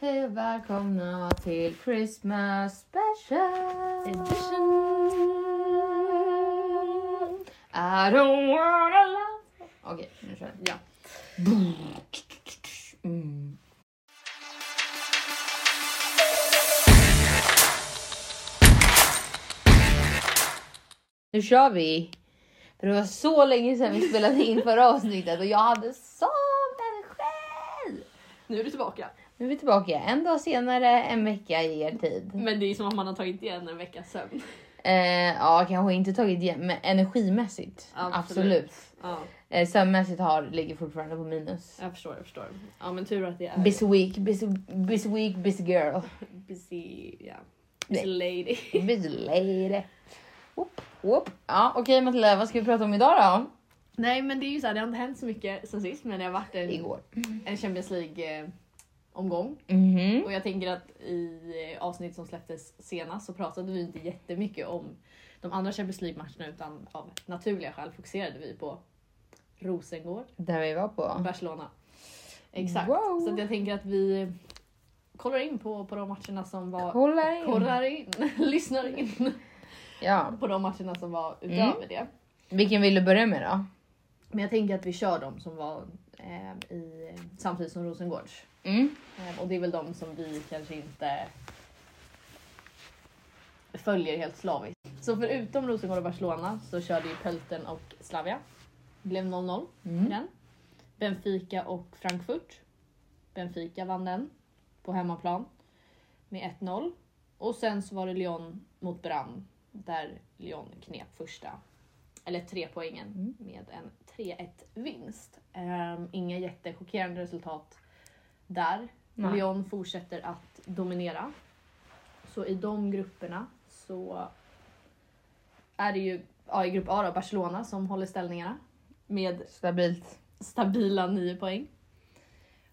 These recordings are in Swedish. Hej och välkomna till Christmas special Edition. I don't wanna love... Okej, nu kör vi. Ja. Mm. Nu kör vi! För det var så länge sedan vi spelade in förra avsnittet och jag hade sån energi! Nu är du tillbaka. Nu är vi tillbaka en dag senare, en vecka i er tid. Men det är som att man har tagit igen en veckas sömn. Eh, ja, kanske inte tagit igen, men energimässigt. Absolut. Absolut. Ja, Eh, sömnmässigt har, ligger fortfarande på minus. jag förstår, jag förstår. Ja men tur att det är Busy week, busy, busy week, busy girl. busy, ja. Nej. busy lady. busy lady. Whoop, whoop. Ja, Okej Matilda, vad ska vi prata om idag Nej men det är ju så här, det har inte hänt så mycket sen sist men det har varit då? en, Igår. en Champions League-omgång. Mhm. Och jag tänker att i eh, avsnitt som släpptes senast så pratade vi inte jättemycket om de andra Champions League-matcherna utan av naturliga skäl fokuserade vi på Rosengård, Där vi var på. Barcelona. Exakt. Wow. Så att jag tänker att vi kollar in på, på de matcherna som var... Kolla in. Kollar in, lyssnar in Ja. på de matcherna som var utöver Mm. det. Vilken vill du börja med då? Men jag tänker att vi kör de som var eh, i, samtidigt som Rosengårds. Mm. Eh, Och det är väl de som vi kanske inte följer helt slaviskt. Så förutom Rosengård och Barcelona så körde ju Pölten och Slavia. Blev 0-0 i Mm. den. Benfica och Frankfurt. Benfica vann den på hemmaplan med 1-0. Och sen så var det Lyon mot Brann där Lyon knep första, eller tre poängen Mm. med en 3-1 vinst. Um, inga jättechockerande resultat där. Nej. Lyon fortsätter att dominera. Så i de grupperna så är det ju ja, i grupp A då, Barcelona som håller ställningarna med Stabilt. stabila 9 poäng.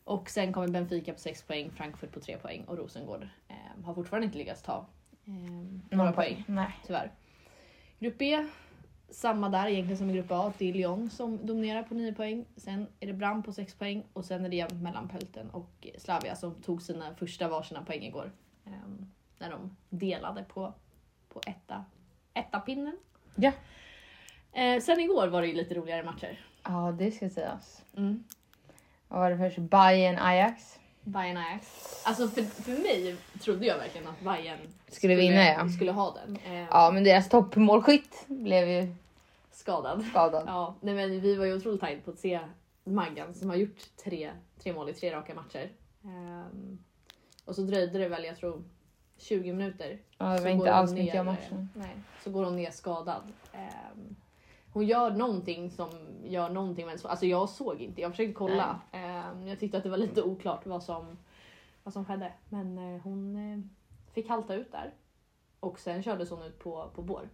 Och sen kommer Benfica på 6 poäng, Frankfurt på 3 poäng och Rosengård eh, har fortfarande inte lyckats ta eh, några poäng, Nej. tyvärr. Grupp B, samma där egentligen som i grupp A. Det är Lyon som dominerar på 9 poäng. Sen är det Brann på 6 poäng och sen är det jämnt mellan Pölten och Slavia som tog sina första varsina poäng igår. Eh, när de delade på, på etta, etta-pinnen. Ja. Eh, sen igår var det ju lite roligare matcher. Ja, det ska sägas. Mm. Vad var det först? Bayern Ajax. Bayern Ajax. Alltså för, för mig trodde jag verkligen att Bayern Skulle vinna, ja. skulle ha den. Eh, Ja, men deras toppmålskytt blev ju Skadad. skadad. Ja, nej men vi var ju otroligt taggade på att se Maggan som har gjort tre, tre mål i tre raka matcher. Ehm, och så dröjde det väl, jag tror, 20 minuter. Ja, det Så var går inte hon alls mycket ner- av matchen. Nej, så går hon ner skadad. Ehm, hon gör någonting som gör någonting men så, alltså jag såg inte, jag försökte kolla. Ehm, jag tyckte att det var lite oklart vad som, vad som skedde. Men eh, hon eh, fick halta ut där. Och sen kördes hon ut på, på bår.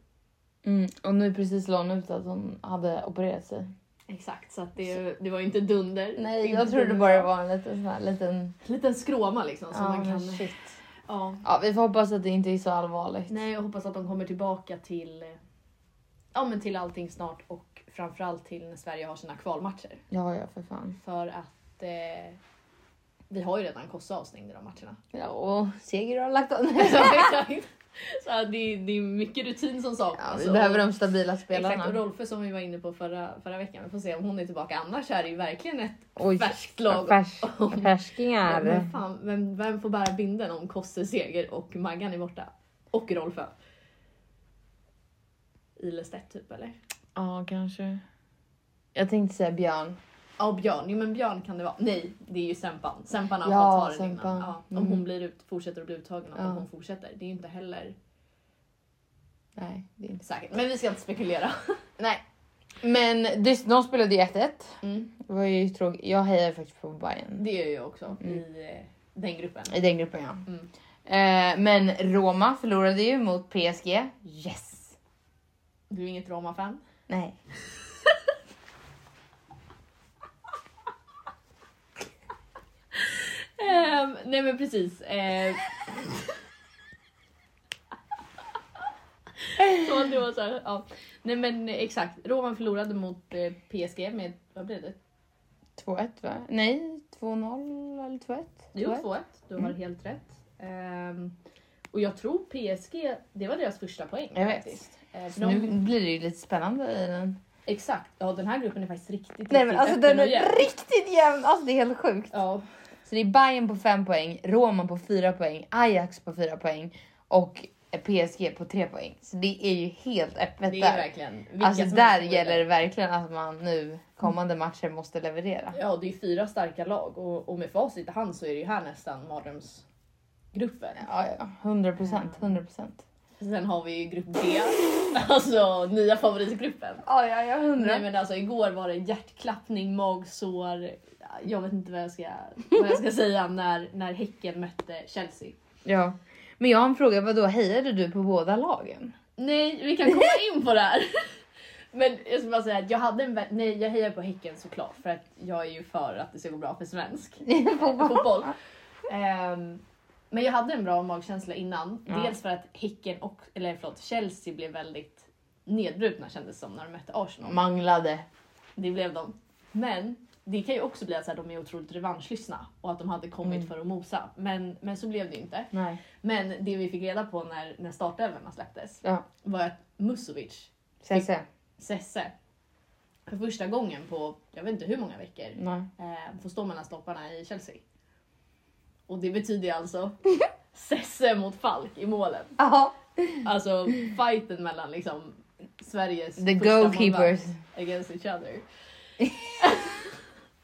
Mm. Och nu precis la hon ut att hon hade opererat sig. Exakt, så att det, det var ju inte dunder. Nej, Inte jag trodde dunder. bara det var en liten sån här liten... Liten skråma liksom. Som Ja, man kan... men shit. ja. Ja, vi får hoppas att det inte är så allvarligt. Nej, jag hoppas att de kommer tillbaka till, eh, ja, men till allting snart och framförallt till när Sverige har sina kvalmatcher. Ja, ja, för fan. För att eh, vi har ju redan Kosovo avstängd i de matcherna. Ja, och Seger har lagt av. Så, exakt. Så att det, är- det är mycket rutin som saknas. Ja, vi och- alltså. behöver de stabila spelarna. Exakt, och Rolfö som vi var inne på förra, förra veckan. Vi får se om hon är tillbaka. Annars är det ju verkligen ett Oj, färskt lag. färs, Om- Ja, färskingar. Men fan, vem, vem får bära binden om Kosse seger och Maggan är borta? Och Rolfö. Ilestedt typ eller? Ja, kanske. Jag tänkte säga Björn. Ja Björn, jo men Björn kan det vara. Nej, det är ju Sempan. Sempan har Ja, fått ta den Sempan. innan. Ja, om Mm. hon blir ut, fortsätter att bli uttagen och Ja. om hon fortsätter. Det är ju inte heller Nej, det är inte. säkert. Men vi ska inte spekulera. Nej. Men det, de spelade ju 1-1. Mm. Det var ju tråkigt. Jag hejar faktiskt på Bayern. Det är ju jag också Mm. i eh, den gruppen. I den gruppen ja. Mm. Eh, men Roma förlorade ju mot PSG. Yes! Du är inget Roma-fan? Nej. Ehm, nej men precis. Ehm. Så det var så här, ja. Nej men exakt, Roman förlorade mot eh, PSG med, vad blev det? 2-1 va? Nej, 2-0 eller 2-1? Jo, 2-1. 2-1. Du har Mm. helt rätt. Ehm, och jag tror PSG, det var deras första poäng. Jag vet. faktiskt. Ehm, för Så de, nu blir det ju lite spännande i den. Exakt. Ja, den här gruppen är faktiskt riktigt, Nej men riktigt alltså öppen den och är jämn. riktigt jämn, alltså det är helt sjukt. Ja, Så det är Bayern på 5 poäng, Roma på 4 poäng, Ajax på 4 poäng och PSG på 3 poäng. Så det är ju helt öppet det är där. verkligen... vilka Alltså som där helst går gäller det vidare. verkligen att man nu kommande matcher måste leverera. Ja, det är fyra starka lag och, och med facit i hand så är det ju här nästan mardrömsgruppen. Ja, ja. 100 procent, 100 procent. Sen har vi ju grupp D, alltså nya favoritgruppen. Ja, ja, ja, Nej men alltså igår var det hjärtklappning, magsår. Jag vet inte vad jag ska, vad jag ska säga när, när Häcken mötte Chelsea. Ja. Men jag har en fråga, vadå hejade du på båda lagen? Nej, vi kan komma in på det här. Men jag ska bara säga att jag hade en vän, nej jag hejar på Häcken såklart för att jag är ju för att det ska gå bra för svensk Fotboll. fotboll. Ehm, men jag hade en bra magkänsla innan. Ja. Dels för att Häcken och, eller förlåt, Chelsea blev väldigt nedbrutna kändes som när de mötte Arsenal. Manglade. Det blev de. Men det kan ju också bli att så här, de är otroligt revanschlystna och att de hade kommit Mm. för att mosa. Men, men så blev det ju inte. Nej. Men det vi fick reda på när, när startelvorna släpptes Ja. var att Musovic, Sesse. Sesse, för första gången på jag vet inte hur många veckor Nej. eh, får stå mellan stolparna i Chelsea. Och det betyder ju alltså Sesse mot Falk i målen. Ja. Alltså fighten mellan liksom Sveriges The första goalkeepers. målvakt against each other.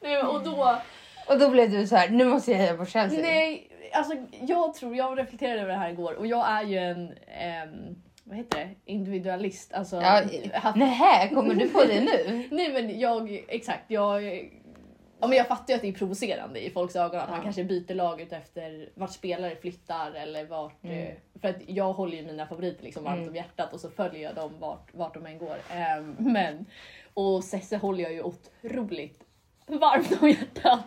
nej, men- och då, Och då blev du så här, nu måste jag heja på Chelsea. nej, alltså jag tror, jag reflekterade över det här igår och jag är ju en, ehm, vad heter det, individualist. Alltså, Ja, haft- Nähä, kommer du på det nu? nej men jag, exakt, jag, ja, men jag fattar ju att det är provocerande i folks ögon att man Ja. kanske byter lag ut efter vart spelare flyttar eller vart, Mm. eh, för att jag håller ju mina favoriter liksom varmt Mm. om hjärtat och så följer jag dem vart, vart de än går. Ehm, men, och Sesse håller jag ju otroligt varmt om hjärtat.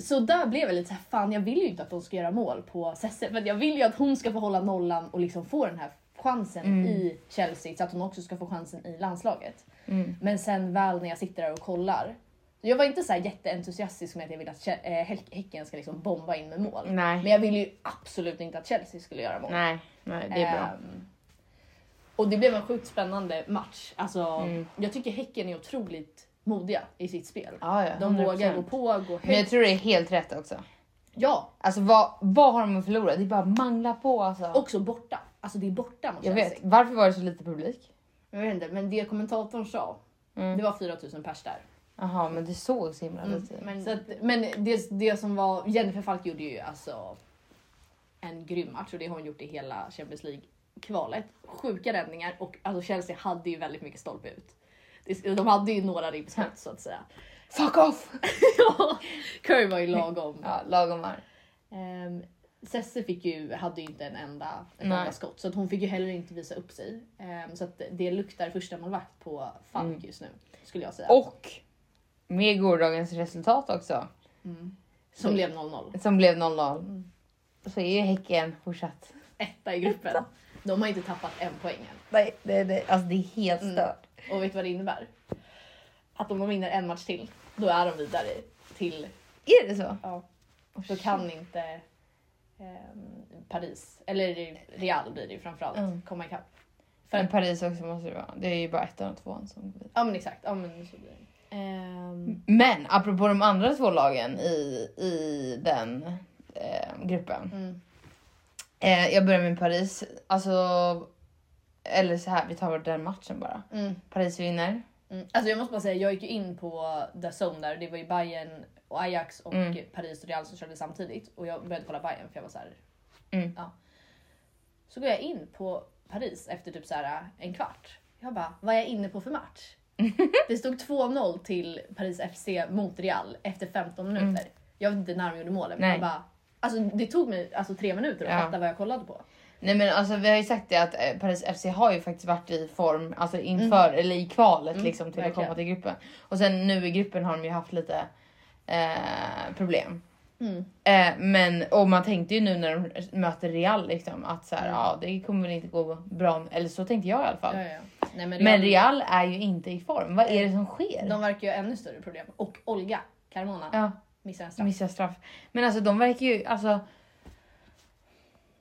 Så där blev jag lite såhär, fan jag vill ju inte att de ska göra mål på Sesse. För att jag vill ju att hon ska få hålla nollan och liksom få den här chansen Mm. i Chelsea så att hon också ska få chansen i landslaget. Mm. Men sen väl när jag sitter där och kollar. Jag var inte så här jätteentusiastisk med att jag vill att Che- eh, Häck- Häcken ska liksom bomba in med mål. Men Nej. jag ville ju absolut inte att Chelsea skulle göra mål. Nej, nej, det är bra. Ehm, och det blev en sjukt spännande match. Alltså, Mm. Jag tycker Häcken är otroligt modiga i sitt spel. Ja, ja, De 100%. vågar gå på, gå Men jag högt. tror det är helt rätt också. Ja, Alltså vad, vad har de att förlora? Det är bara att mangla på alltså. också borta. Alltså det är borta mot jag Chelsea. vet. Varför var det så lite publik? Jag vet inte, men det kommentatorn sa, Mm. det var 4000 pers där. Jaha, men det såg så himla Mm, lite. men så att, men det, det som var, Jennifer Falk gjorde ju alltså en grym match och det har hon gjort i hela Champions League-kvalet. Sjuka räddningar och alltså Chelsea hade ju väldigt mycket stolpe ut. Det- De hade ju några ribbskott så att säga. Fuck off! Ja, Curry var ju lagom. Ja, lagom var. Ehm, Sesse fick ju, hade ju inte en enda, en Nej. enda skott så att hon fick ju heller inte visa upp sig. Ehm, så att det luktar första målvakt på Falk Mm. just nu skulle jag säga. Och med gårdagens resultat också Mm. Som blev 0-0. som blev 0-0 Mm. så är ju Häcken fortsatt. etta i gruppen. De har inte tappat en poäng än. Nej, det, det, alltså det är helt Mm. stört. Och vet du vad det innebär? Att om de vinner en match till, då är de vidare till... Är det så? Ja, Oh, då shit. kan inte ehm, Paris, eller Real blir det ju framförallt, Mm. komma ikapp. För Men Paris också måste det vara. Det är ju bara ettan och tvåan som går vidare. Ja men exakt, ja men så blir det. Ehm, Men apropå de andra två lagen i, i den eh, gruppen. mm. Eh, jag börjar med Paris. Alltså, eller så här, vi tar den matchen bara. Mm. Paris vinner. Mm. Alltså jag måste bara säga, jag gick ju in på DAZN där. Det var ju Bayern och Ajax och Mm. Paris och Real som körde samtidigt. Och jag började kolla Bayern för jag var så här. Mm. Ja. Så går jag in på Paris efter typ så här en kvart. Jag bara, vad är jag inne på för match? Det stod 2-0 till Paris FC mot Real efter 15 minuter. Mm. Jag vet inte när de gjorde målen men Nej. jag bara, alltså det tog mig alltså tre minuter att Ja. fatta vad jag kollade på. Nej men alltså vi har ju sagt det att eh, Paris FC har ju faktiskt varit i form, alltså inför eller i kvalet Mm, liksom till att verkligen. komma till gruppen. Och sen nu i gruppen har de ju haft lite eh, problem. Mm. Eh, men och man tänkte ju nu när de möter Real liksom att så här, Mm. ja det kommer väl inte gå bra. Eller så tänkte jag i alla Ja, fall. ja, ja. Nej, men Men Real är ju inte i form. Vad är det som sker? De verkar ju ha ännu större problem. Och Olga Carmona Ja, missar en straff. missar straff. Men alltså de verkar ju, alltså.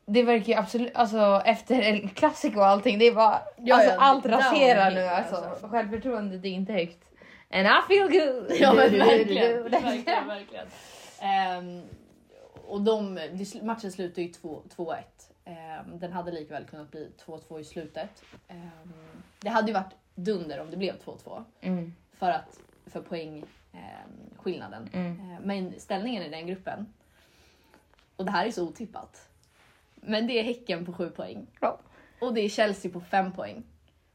Det verkar ju absolut, alltså efter El Clasico och allting, det är bara, Ja, alltså ja, allt down raserar nu hill, alltså. alltså. Självförtroendet är inte högt. And I feel good! Ja men verkligen. verkligen, verkligen. Ehm, och de, det sl- matchen slutade ju 2 2-1. Ehm, den hade likväl kunnat bli 2-2 i slutet. Ehm, det hade ju varit dunder om det blev 2-2 Mm, för, att, för poängskillnaden. mm. Eh, Men ställningen i den gruppen, och det här är så otippat, men det är Häcken på 7 poäng. Ja. Och det är Chelsea på 5 poäng.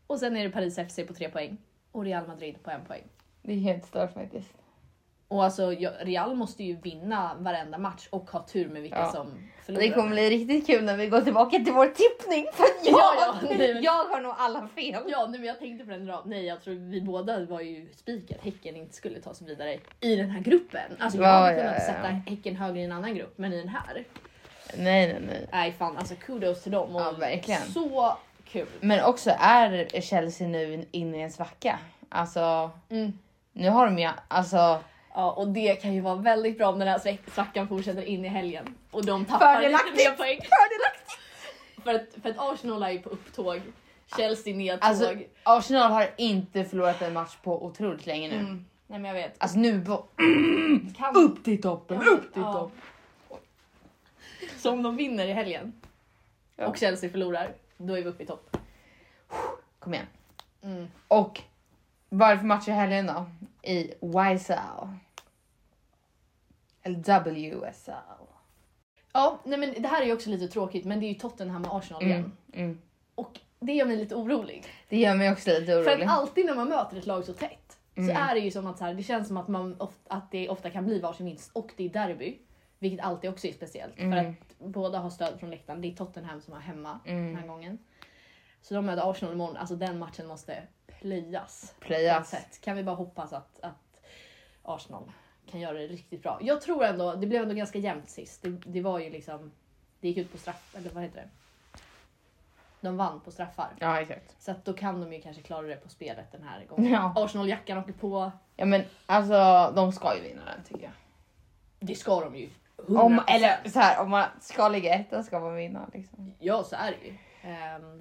Och sen är det Paris FC på 3 poäng. Och Real Madrid på 1 poäng. Det är helt stört faktiskt. Och alltså ja, Real måste ju vinna varenda match och ha tur med vilka Ja. som förlorar. Det kommer bli riktigt kul när vi går tillbaka till vår tippning för att jag, Ja, ja, nej, men- jag har nog alla fel. Ja, nej, men jag tänkte på den rad. Nej, jag tror vi båda var ju spikat Häcken inte skulle ta sig vidare i den här gruppen. Alltså jag Ja, hade ja, kunnat ja. sätta Häcken högre i en annan grupp, men i den här. Nej, nej, nej. Nej fan, alltså kudos till dem. Och Ja, verkligen. Så kul. Men också är Chelsea nu inne i en svacka. Alltså, nu har de ju, alltså. Ja, och det kan ju vara väldigt bra om den här svack- svackan fortsätter in i helgen. Och de tappar lite Fördelaktigt. mer poäng. Fördelaktigt! För att, för att Arsenal är ju på upptåg. Chelsea nedtåg. Mm. Alltså, Arsenal har inte förlorat en match på otroligt länge nu. mm. Nej men jag vet. Alltså nu, bo- Kan... upp till toppen, upp till Ja. toppen. Så om de vinner i helgen Ja. och Chelsea förlorar, då är vi uppe i topp. Kom igen. Mm. Och vad är det för match i helgen då? I YSL. Eller WSL. Ja, nej men det här är ju också lite tråkigt men det är ju Tottenham och Arsenal igen. Mm, mm. Och det gör mig lite orolig. Det gör mig också lite För orolig. att alltid när man möter ett lag så tätt Mm. så är det ju som att så här, det känns som att, man ofta, att det ofta kan bli varsin vinst och det är derby. Vilket alltid också är speciellt för Mm. att båda har stöd från läktaren. Det är Tottenham som har hemma den här Mm. gången. Så de möter Arsenal imorgon. Alltså den matchen måste plöjas. Playas. sätt. Kan vi bara hoppas att, att Arsenal kan göra det riktigt bra. Jag tror ändå, det blev ändå ganska jämnt sist. Det, det var ju liksom, det gick ut på straff, eller vad heter det? De vann på straffar. Ja exakt. Så att då kan de ju kanske klara det på spelet den här gången. Ja. Arsenal-jackan åker på. Ja men alltså de ska ju vinna den tycker jag. Det ska de ju. Om, 100%. eller så här, om man ska ligga etta ska man vinna liksom. Ja, så är det ju. Ehm,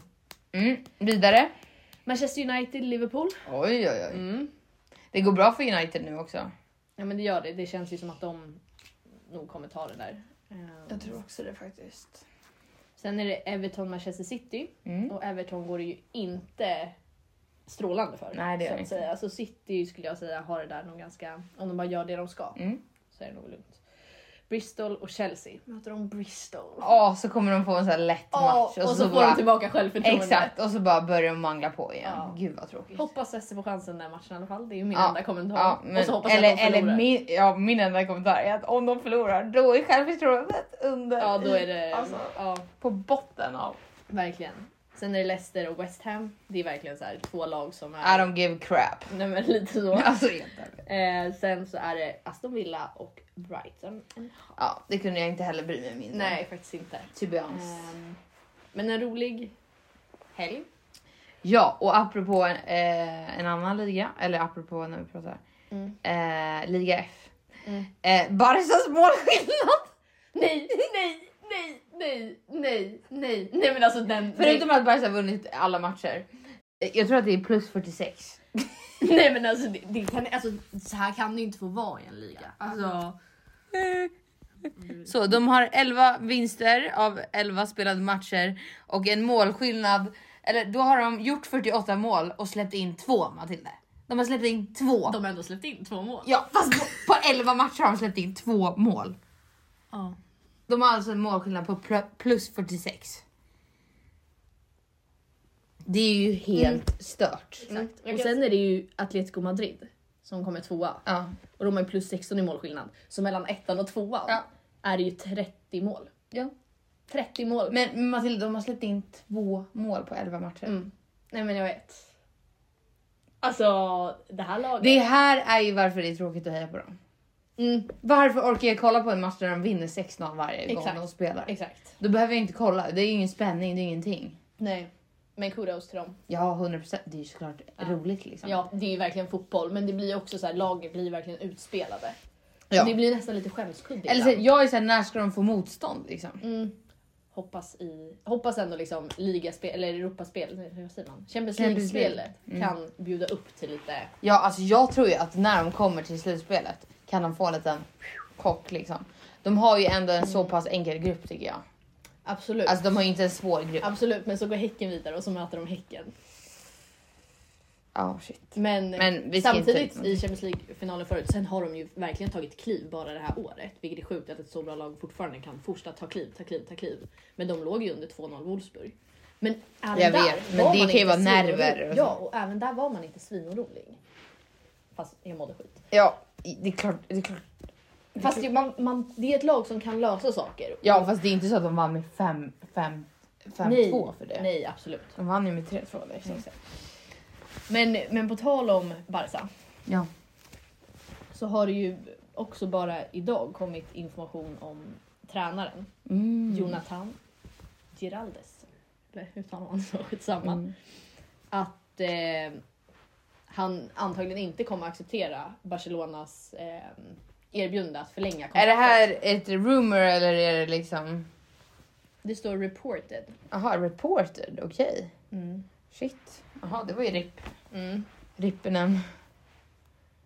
Mm. Vidare. Manchester United, Liverpool. Oj oj oj. Det går bra för United nu också. Ja men det gör det. Det känns ju som att de nog kommer ta det där. Ehm, också det faktiskt. Sen är det Everton, Manchester City. Mm. Och Everton går det ju inte strålande för. Nej, det gör det så att inte. säga. Alltså City skulle jag säga har det där nog ganska, om de bara gör det de ska Mm. så är det nog lugnt. Bristol och Chelsea. Möter de Bristol? Ja, så kommer de få en sån här lätt Ja, match. alltså, och, så, får bara, de tillbaka självförtroendet. Exakt, och så bara börjar de mangla på igen. Ja. Gud vad tråkigt. Hoppas Sesse får chansen den matchen i alla fall. Det är ju min Ja, enda kommentar. Ja, och men, så hoppas jag eller, att de förlorar. eller min, ja, min enda kommentar är att om de förlorar då är självförtroendet under Ja, då är det... Alltså. Ja, på botten av. verkligen. Sen är det Leicester och West Ham. Det är verkligen så här två lag som I är... don't give crap. Nej men lite så. Alltså, helt ärligt. Eh, sen så är det Aston Villa och Brighton. ja, det kunde jag inte heller bry mig mindre. Nej, faktiskt inte. To be honest. Ehm, men en rolig helg. Ja, och apropå en, eh, en annan liga, eller apropå när vi pratar, Mm. eh, liga F. Mm. Eh, Barcas målskillnad! Nej, nej, nej, nej, nej, nej, nej men alltså den... den- Förutom att Barca har vunnit alla matcher. Eh, Jag tror att det är plus 46. Nej men alltså, det, det kan, alltså så här kan det ju inte få vara i en liga. Alltså, Mm. Så de har 11 vinster av 11 spelade matcher och en målskillnad. Eller då har de gjort 48 mål och släppt in två Matilde. De har släppt in två. de har ändå släppt in två mål. Ja, fast på 11 matcher har de släppt in två mål. Ja. De har alltså en målskillnad på pl- plus 46. Det är ju helt Mm. stört. Och sen är det ju Atletico Madrid som kommer tvåa. Ja. Och de har ju plus 16 i målskillnad. Så mellan ettan och tvåan Ja. är det ju 30 mål. ja. 30 mål. Men Matilda, de har släppt in två mål på 11 matcher. Mm. Nej men jag vet. Alltså det här laget. Det här är ju varför det är tråkigt att heja på dem. Mm, Varför orkar jag kolla på en match där de vinner 6-0 varje gång Exakt. de spelar? exakt. Då behöver jag inte kolla. Det är ju ingen spänning, det är ingenting. Nej. Men kudos till dem. Ja, 100%. Det är ju såklart Ja. roligt liksom. Ja, det är ju verkligen fotboll. Men det blir ju också så här, laget blir verkligen utspelade. Ja. Det blir nästan lite skämskudde Eller så, ibland. jag är såhär, när ska de få motstånd liksom? mm. hoppas, i, hoppas ändå liksom ligaspel, eller Europaspel, nej, hur säger man? Champions Champions League. League-spelet kan bjuda upp till lite... Ja, alltså jag tror ju att när de kommer till slutspelet kan de få en liten kock liksom. De har ju ändå en så pass enkel grupp tycker jag. Absolut. Alltså de har ju inte en svår grupp. Absolut, men så går Häcken vidare och så möter de Häcken. Ja, oh, shit. Men, Men vi ska samtidigt inte- i Champions League-finalen förut, sen har de ju verkligen tagit kliv bara det här året. Vilket är sjukt att ett så bra lag fortfarande kan fortsätta ta kliv, ta kliv, ta kliv. Men de låg ju under 2-0 Wolfsburg. Men även Jag där vet, men var det man kan ju inte vara svinorolig. nerver och Ja, och även där var man inte svinorolig. Fast jag mådde skit. Ja, det är klart. Det är klart. Fast ju, man, man, det är ett lag som kan lösa saker. Ja, fast det är inte så att de vann med 5-2 nej, för det. Nej, absolut. De vann ju med 3-2. Liksom. Men, men på tal om Barca. Ja. så har det ju också bara idag kommit information om tränaren Mm. Jonathan Giraldes. Eller hur talar man så? Skitsamma. Mm. Att eh, han antagligen inte kommer acceptera Barcelonas eh, erbjudande att förlänga kontraktet. Är det här ett rumor eller är det liksom... Det står reported. Jaha, reported. Okej. Mm. Shit. Jaha, det var ju RIP. Mm, Rippenen.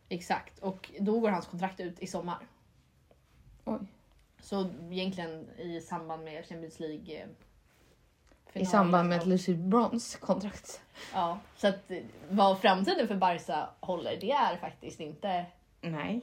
exakt. Och då går hans kontrakt ut i sommar. Oj. Så egentligen i samband med Champions League. eh, I finalen samband med och- ett Lucy Bronze kontrakt. Ja, så att eh, vad framtiden för Barca håller, det är faktiskt inte Nej.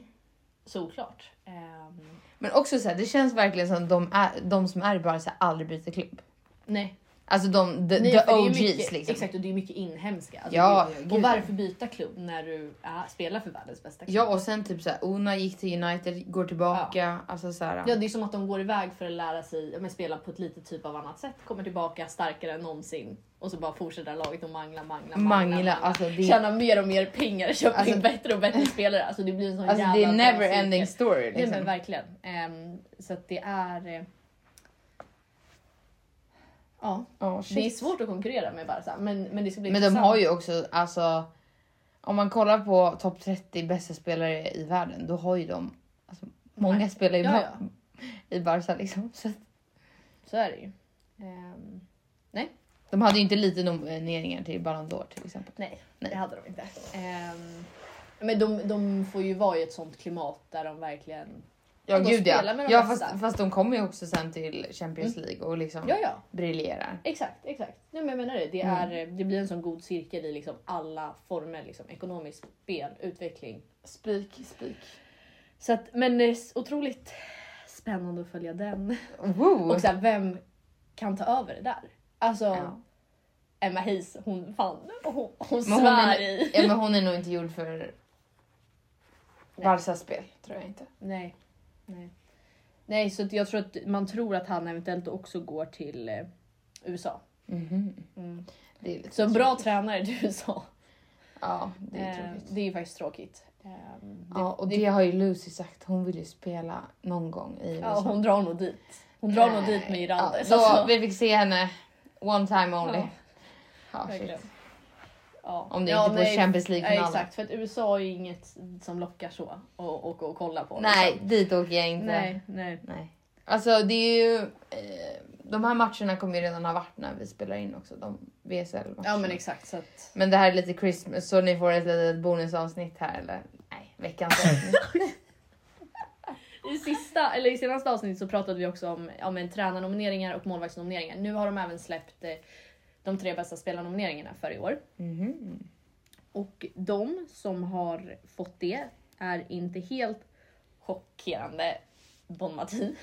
såklart. Ehm, Men också så här, det känns verkligen som de, är, de som är i Barca aldrig byter klubb. nej, Alltså de, the, nej the för det är ju OGs mycket, liksom. Exakt, och det är mycket inhemska. Alltså, Ja, det är, gud, och ja. varför byta klubb när du ja, spelar för världens bästa klubb? Ja och sen typ såhär, Ona gick till United, går tillbaka. Alltså såhär. Ja, det är som att de går iväg för att lära sig, ja, men spela på ett lite typ av annat sätt, kommer tillbaka starkare än någonsin och så bara fortsätter laget och mangla, mangla, mangla. Mangla, alltså det, Tjäna mer och mer pengar, köpa Alltså- in bättre och bättre spelare. Alltså det blir en sån alltså, jävla det är never bra ending cirkel. story Nej liksom. men verkligen. Ehm, så att det är... eh, Ja, Ja, det är shit. svårt liksom- att konkurrera med Barca men, men det ska bli Men de intressant. har ju också, alltså om man kollar på topp 30 bästa spelare i världen, då har ju de alltså, många Nej. spelare i, Ja, Bar- i Barca liksom. Så att Så är det ju. Ehm, de hade ju inte lite nomineringar till Ballon d'Or till exempel. nej, Nej. det hade de inte. Ehm, men de, de får ju vara i ett sånt klimat där de verkligen... Ja, de gud spelar ja. med de ja bästa. Mm. fast, fast de kommer ju också sen till Champions League och liksom Ja, ja. Mm. briljerar. Exakt, exakt. Nej, men jag menar det. Det, är, det blir en sån god cirkel i liksom alla former. Liksom, ekonomiskt spel, utveckling. Spik, spik. Så att, men det är s- otroligt spännande att följa den. Woo. Och så här, vem kan ta över det där? Alltså Ja. Emma Hayes, hon fan, hon, hon Men hon svär är- i. Ja, men hon är nog inte gjord för Barcas spel, tror jag inte. Nej. Nej. Nej, så att jag tror att man tror att han eventuellt också går till eh, USA. Mhm. Mm. Det är lite Så en bra tråkigt. tränare till USA. Ja, det är Eh, tråkigt. det är ju faktiskt tråkigt. Ehm, det, Ja, och det har ju Lucy sagt. Hon vill ju spela någon gång i ja, USA. hon drar nog dit. Hon drar nog Nej. dit med Irandes. Ja, då, alltså. Vi fick se henne one time only. Ja. Ja. shit. Verkligen. Ja. Om det ja, inte nej, går Champions Ja, League-finalen. exakt, för att USA är ju inget som lockar så och, och, och kolla på. nej, liksom. dit åker jag inte. Nej. nej, nej. Alltså det är ju... Eh, de här matcherna kommer ju redan ha varit när vi spelar in också. De VSL-matcherna. Ja men exakt så att. Men det här är lite Christmas så ni får ett litet bonusavsnitt här eller? Nej, veckans avsnitt. I, sista, eller I senaste avsnittet så pratade vi också om, om en tränarnomineringar och målvaktsnomineringar. Nu har de även släppt eh, de tre bästa spelarnomineringarna för i år. Mhm. Och de som har fått det är inte helt chockerande Bon Mati.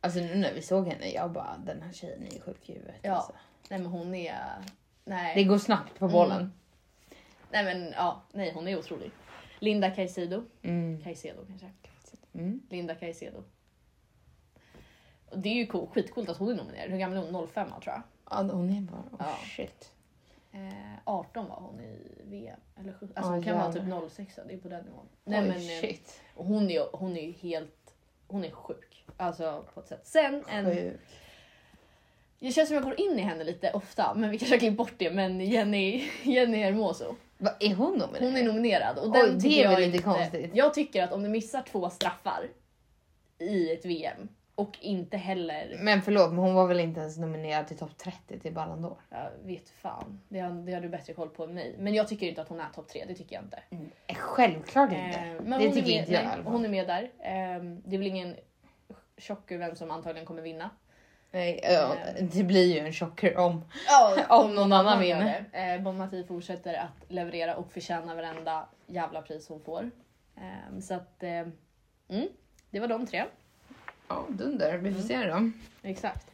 Alltså nu när vi såg henne, jag bara den här tjejen är ju sjuk i huvudet. Ja. Alltså. Nej men hon är... Nej. Det går snabbt på bollen. nej men ja, nej hon är otrolig. Linda Caicedo. Mm. Caicedo kanske. Mm. Linda Caicedo. Och Det är ju cool, skitcoolt att hon är nominerad. Hur gammal är hon? 05 tror jag. Ja, hon är bara... Oh, Ja. shit. Eh, 18 var hon i VM. Eller 17. Alltså Ja, hon kan vara jävlar. typ 06, det är på den nivån. Nej, Oj, men, eh, shit. och hon, är, ju- hon är ju helt... Hon är sjuk. Alltså på ett sätt. Sen en... Sjuk. Det känns som jag går in i henne lite ofta men vi kanske har klippt bort det. Men Jenny, Jenny Hermoso. Va, är hon nominerad? Hon är nominerad. Och Oj, den det tycker är väl jag lite inte- konstigt. Jag tycker att om du missar två straffar i ett VM och inte heller... Men förlåt, men hon var väl inte ens nominerad till topp 30 till Ballon d'Or? Jag vet fan, det har, det har du bättre koll på än mig. Men jag tycker inte att hon är topp tre, det tycker jag inte. Eh, Självklart inte. Eh, det men hon tycker är med, inte jag i nej, alla fall. Hon är med där. Eh, det är väl ingen tjockur vem som antagligen kommer vinna. Nej, ja, Ehm. det blir ju en chocker om. Ja, om någon annan gör vinner. det. Eh, bon Mati fortsätter att leverera och förtjäna varenda jävla pris hon får. Eh, så att, eh, mm, det var de tre. Ja, dunder. Vi får Mm. se då. Exakt.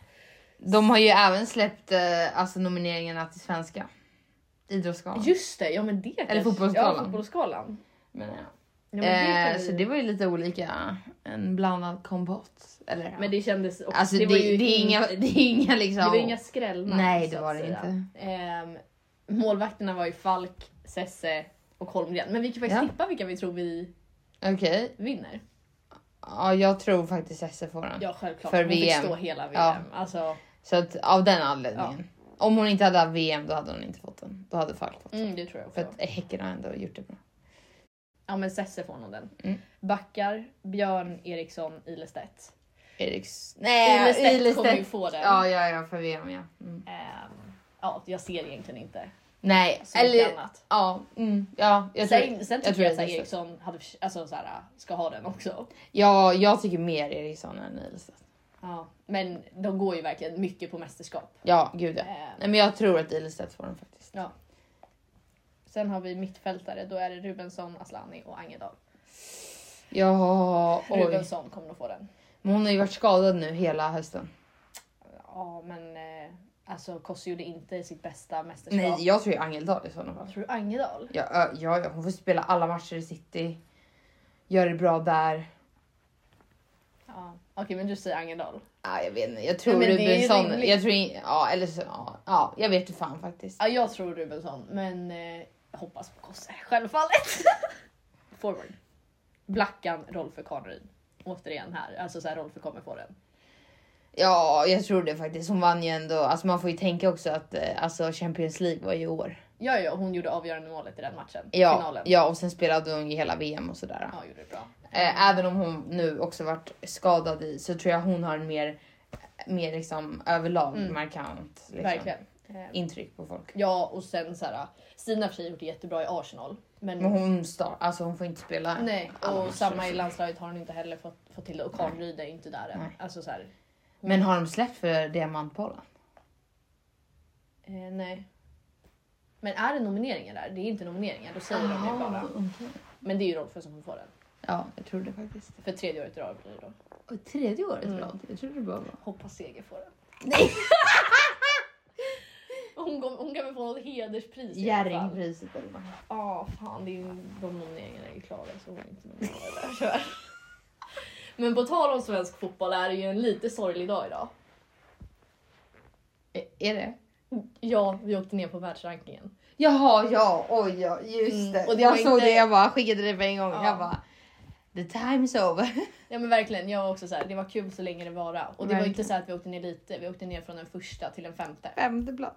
De har ju även släppt eh, alltså nomineringarna till svenska. Idrottsgalan. Just det, ja men det kanske- fotbollsskalan. Ja, fotbollsskalan. menar jag. Ja, Eh, men, det Så kan vi- det var ju lite olika. En blandad kompott. Eller, men det kändes också, alltså, det, var ju det, är inga, det är inga liksom... det var inga skrällnamn. Nej, det så att var det säga. inte. Ehm, målvakterna var ju Falk, Sesse och Holmgren. Men vi kan faktiskt Ja. tippa vilka vi tror vi Okej. vinner. Ja, jag tror faktiskt SS får den. Ja självklart, För hon fick VM. stå hela VM. Ja. Alltså, Så att, av den anledningen. Om hon inte hade haft VM då hade hon inte fått den. Då hade Falk fått den. mm, det tror jag För också. att Häcken har ändå gjort det bra. Ja men Sesse får nog den. Mm. Backar, Björn Eriksson, Ilestedt. Eriks... Nej, Ilestedt, kommer ju Eh, Ilestedt. få den. Ja, ja, ja, för VM ja. Mm. Ehm, ja, jag ser egentligen inte Nej, så mycket eller... annat. Ja, mm, ja, jag tror... Sen, sen jag tycker tror jag, att det är att Eriksson hade, förs- alltså, så här, ska ha den också. Ja, jag tycker mer Eriksson än Ilestedt. Ja. Men de går ju verkligen mycket på mästerskap. Ja, gud ja. Eh, Nej, men jag tror att Ilestedt får den faktiskt. ja. Sen har vi mittfältare, då är det Rubensson, Aslani och Angedal. Ja, oj. Rubensson kommer nog få den. Men hon har ju varit skadad nu hela hösten. Ja men eh, alltså Kossi gjorde inte sitt bästa mästerskap. Nej, jag tror ju Angeldal i sådana fall. Tror du Angedal? Ja, ö, ja, ja, hon får spela alla matcher i city. Gör det bra där. Ja. Okej men du säger Angedal. Ja, jag vet inte, jag tror men det är ju Rubensson. rimligt. Jag tror in, ja, eller så, ja, ja, jag vet inte fan faktiskt. Ja jag tror Rubensson men eh, jag hoppas på Kosse självfallet. Forward. Blackan, Rolfö Kaneryd. Återigen här, alltså så här, Rolfö kommer få den. Ja, jag tror det faktiskt. Hon vann ju ändå. Alltså man får ju tänka också att eh, alltså Champions League var ju i år. Ja, ja, hon gjorde avgörande målet i den matchen. Ja, Finalen. ja, och sen spelade hon ju hela VM och sådär. Ja, gjorde det bra. Eh, även om hon nu också varit skadad i så tror jag hon har en mer, mer liksom överlag Mm. markant liksom, Verkligen. Eh, intryck på folk. Ja, och sen så här, Stina har för sig gjort det jättebra i Arsenal. Men, Men hon, star, alltså hon får inte spela. nej, alla och matcher. samma i landslaget har hon inte heller fått, fått till det. Och Kahnryd är inte där än. Nej. Alltså så här, Men har de släppt för Diamantbollen? eh, nej. Men är det nomineringar där? Det är inte nomineringar, då säger de det bara. Men det är ju Rolfö som får den. Ah, Ja, jag tror det faktiskt. För tredje året i rad blir det då. Och tredje året Mm. Vlad. Jag trodde det bara var... Hoppas Seger får den. Nej! Hon, kom, hon kan väl få något hederspris i alla fall. Jerringpriset eller vad? Ja, fan, det är ju, de nomineringarna är ju klara så hon är inte nominerad där tyvärr. Men på tal om svensk fotboll är det ju en lite sorglig dag idag. Ä- Eh, Är det? Ja, vi åkte ner på världsrankingen. Jaha, ja, oj, ja, just Mm, det. och det var jag såg inte- det, jag bara skickade det på en gång. Ja. Jag bara, the time is over. Ja men verkligen, jag var också så här, det var kul så länge det vara. Och det var Verkligen. inte så här att vi åkte ner lite, vi åkte ner från den första till den femte. Femte plats.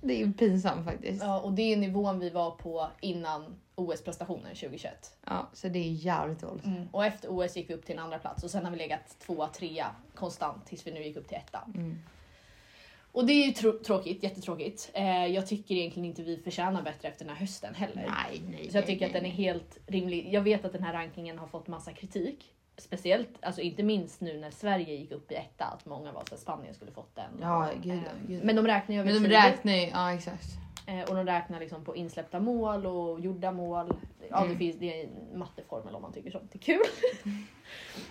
Det är ju pinsamt faktiskt. Ja. Ja, och det är nivån vi var på innan OS-prestationen 2021. så det är jävligt dåligt. Och efter OS gick vi upp till en andra plats och sen har vi legat tvåa, trea konstant tills vi nu gick upp till etta. Mm. Och det är ju tr- tråkigt, jättetråkigt. Eh, jag tycker egentligen inte vi förtjänar bättre efter den här hösten heller. Nej, nej. Så jag tycker att den är helt rimlig. Jag vet att den här rankingen har fått massa kritik. Speciellt, alltså inte minst nu när Sverige gick upp i etta, att många var så att Spanien skulle fått den. Ja, gud, Eh, ja, gud. Men de räknar ju över Men de tid. räknar ju, ja exakt. Eh, Och de räknar liksom på insläppta mål och gjorda mål. Ja, Mm. det finns det är en matteformel om man tycker sånt är kul.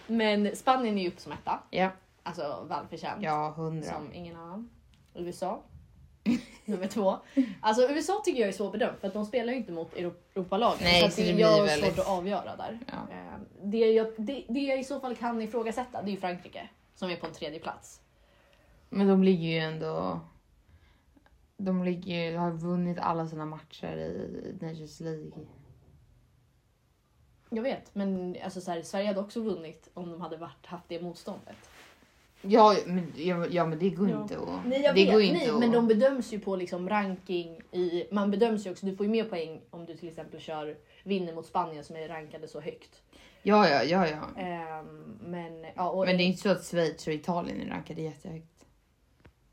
Men Spanien är ju upp som etta, Ja, alltså välförtjänt. ja hundra. Som ingen annan. USA. Nummer två. Alltså USA tycker jag är svårbedömt för att de spelar ju inte mot Euro- Europalagen. Nej, så att så det det blir jag har väldigt- svårt att avgöra där. Ja. Eh, Det jag, det, det jag i så fall kan ifrågasätta det är ju Frankrike som är på en tredje plats. Men de ligger ju ändå... De ligger ju, har vunnit alla sina matcher i Nations League. Jag vet, men alltså så här, Sverige hade också vunnit om de hade varit, haft det motståndet. Ja men, ja, ja, men det går inte att... Nej, jag det vet, går nej, att- men de bedöms ju på liksom ranking i... Man bedöms ju också, du får ju mer poäng om du till exempel kör vinner mot Spanien som är rankade så högt. Ja, ja, ja, ja. Ehm, men ja, och Mm. Men det är inte så att Schweiz och Italien är rankade jättehögt.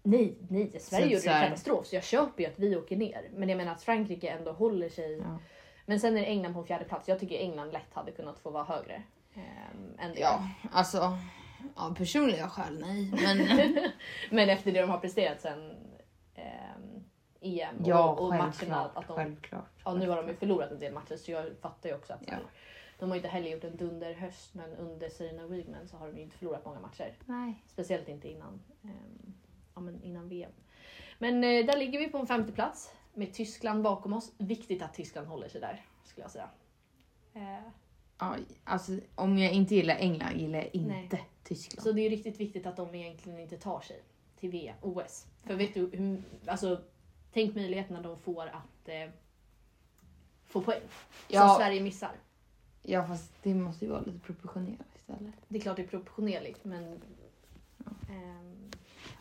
Nej, nej, Sverige Så gjorde så ju här- katastrof så jag köper ju att vi åker ner. Men jag menar att Frankrike ändå håller sig. Ja. Men sen är det England på fjärde plats. Jag tycker England lätt hade kunnat få vara högre. ehm, än det. Ja, alltså. Av personliga skäl, nej. Men Men efter det de har presterat sen ehm, EM ja, och, och matcherna. självklart. Att de, självklart. ja, nu har de ju förlorat en del matcher så jag fattar ju också att så här, Ja. de har ju inte heller gjort en dunder höst men under Serena Wigman så har de ju inte förlorat många matcher. Nej. Speciellt inte innan, ehm, ja, men innan VM. Men eh, där ligger vi på en femte plats med Tyskland bakom oss. Viktigt att Tyskland håller sig där skulle jag säga. Eh, Ja, alltså, om jag inte gillar England gillar jag inte Nej. Tyskland. så det är ju riktigt viktigt att de egentligen inte tar sig till VM, OS. För vet du, hur, alltså, tänk möjligheterna de får att eh, få poäng. Ja. Som Sverige missar. Ja, fast det måste ju vara lite proportionellt istället. Det är klart det är proportionerligt men... ehm,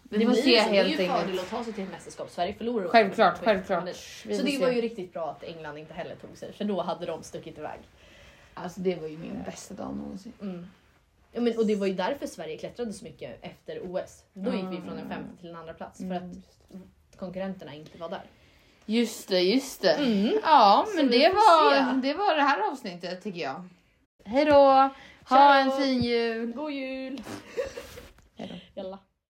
Men det måste blir ju jag så, det är helt ju en fördel enkelt. att ta sig till ett mästerskap. Sverige förlorar. Självklart, självklart. Vi Så får det var se. ju riktigt bra att England inte heller tog sig, för då hade de stuckit iväg. Alltså det var ju min bästa dag någonsin. Mm. Ja, men, och det var ju därför Sverige klättrade så mycket efter OS. Då gick vi Mm. från en femte till en andra plats för Mm. att konkurrenterna inte var där. Just det, just det. Ja, Mm. Så men vi det får var, se. det var det här avsnittet tycker jag. Hej då! Ha Ciao. en fin jul! God jul! Hej då. Jalla.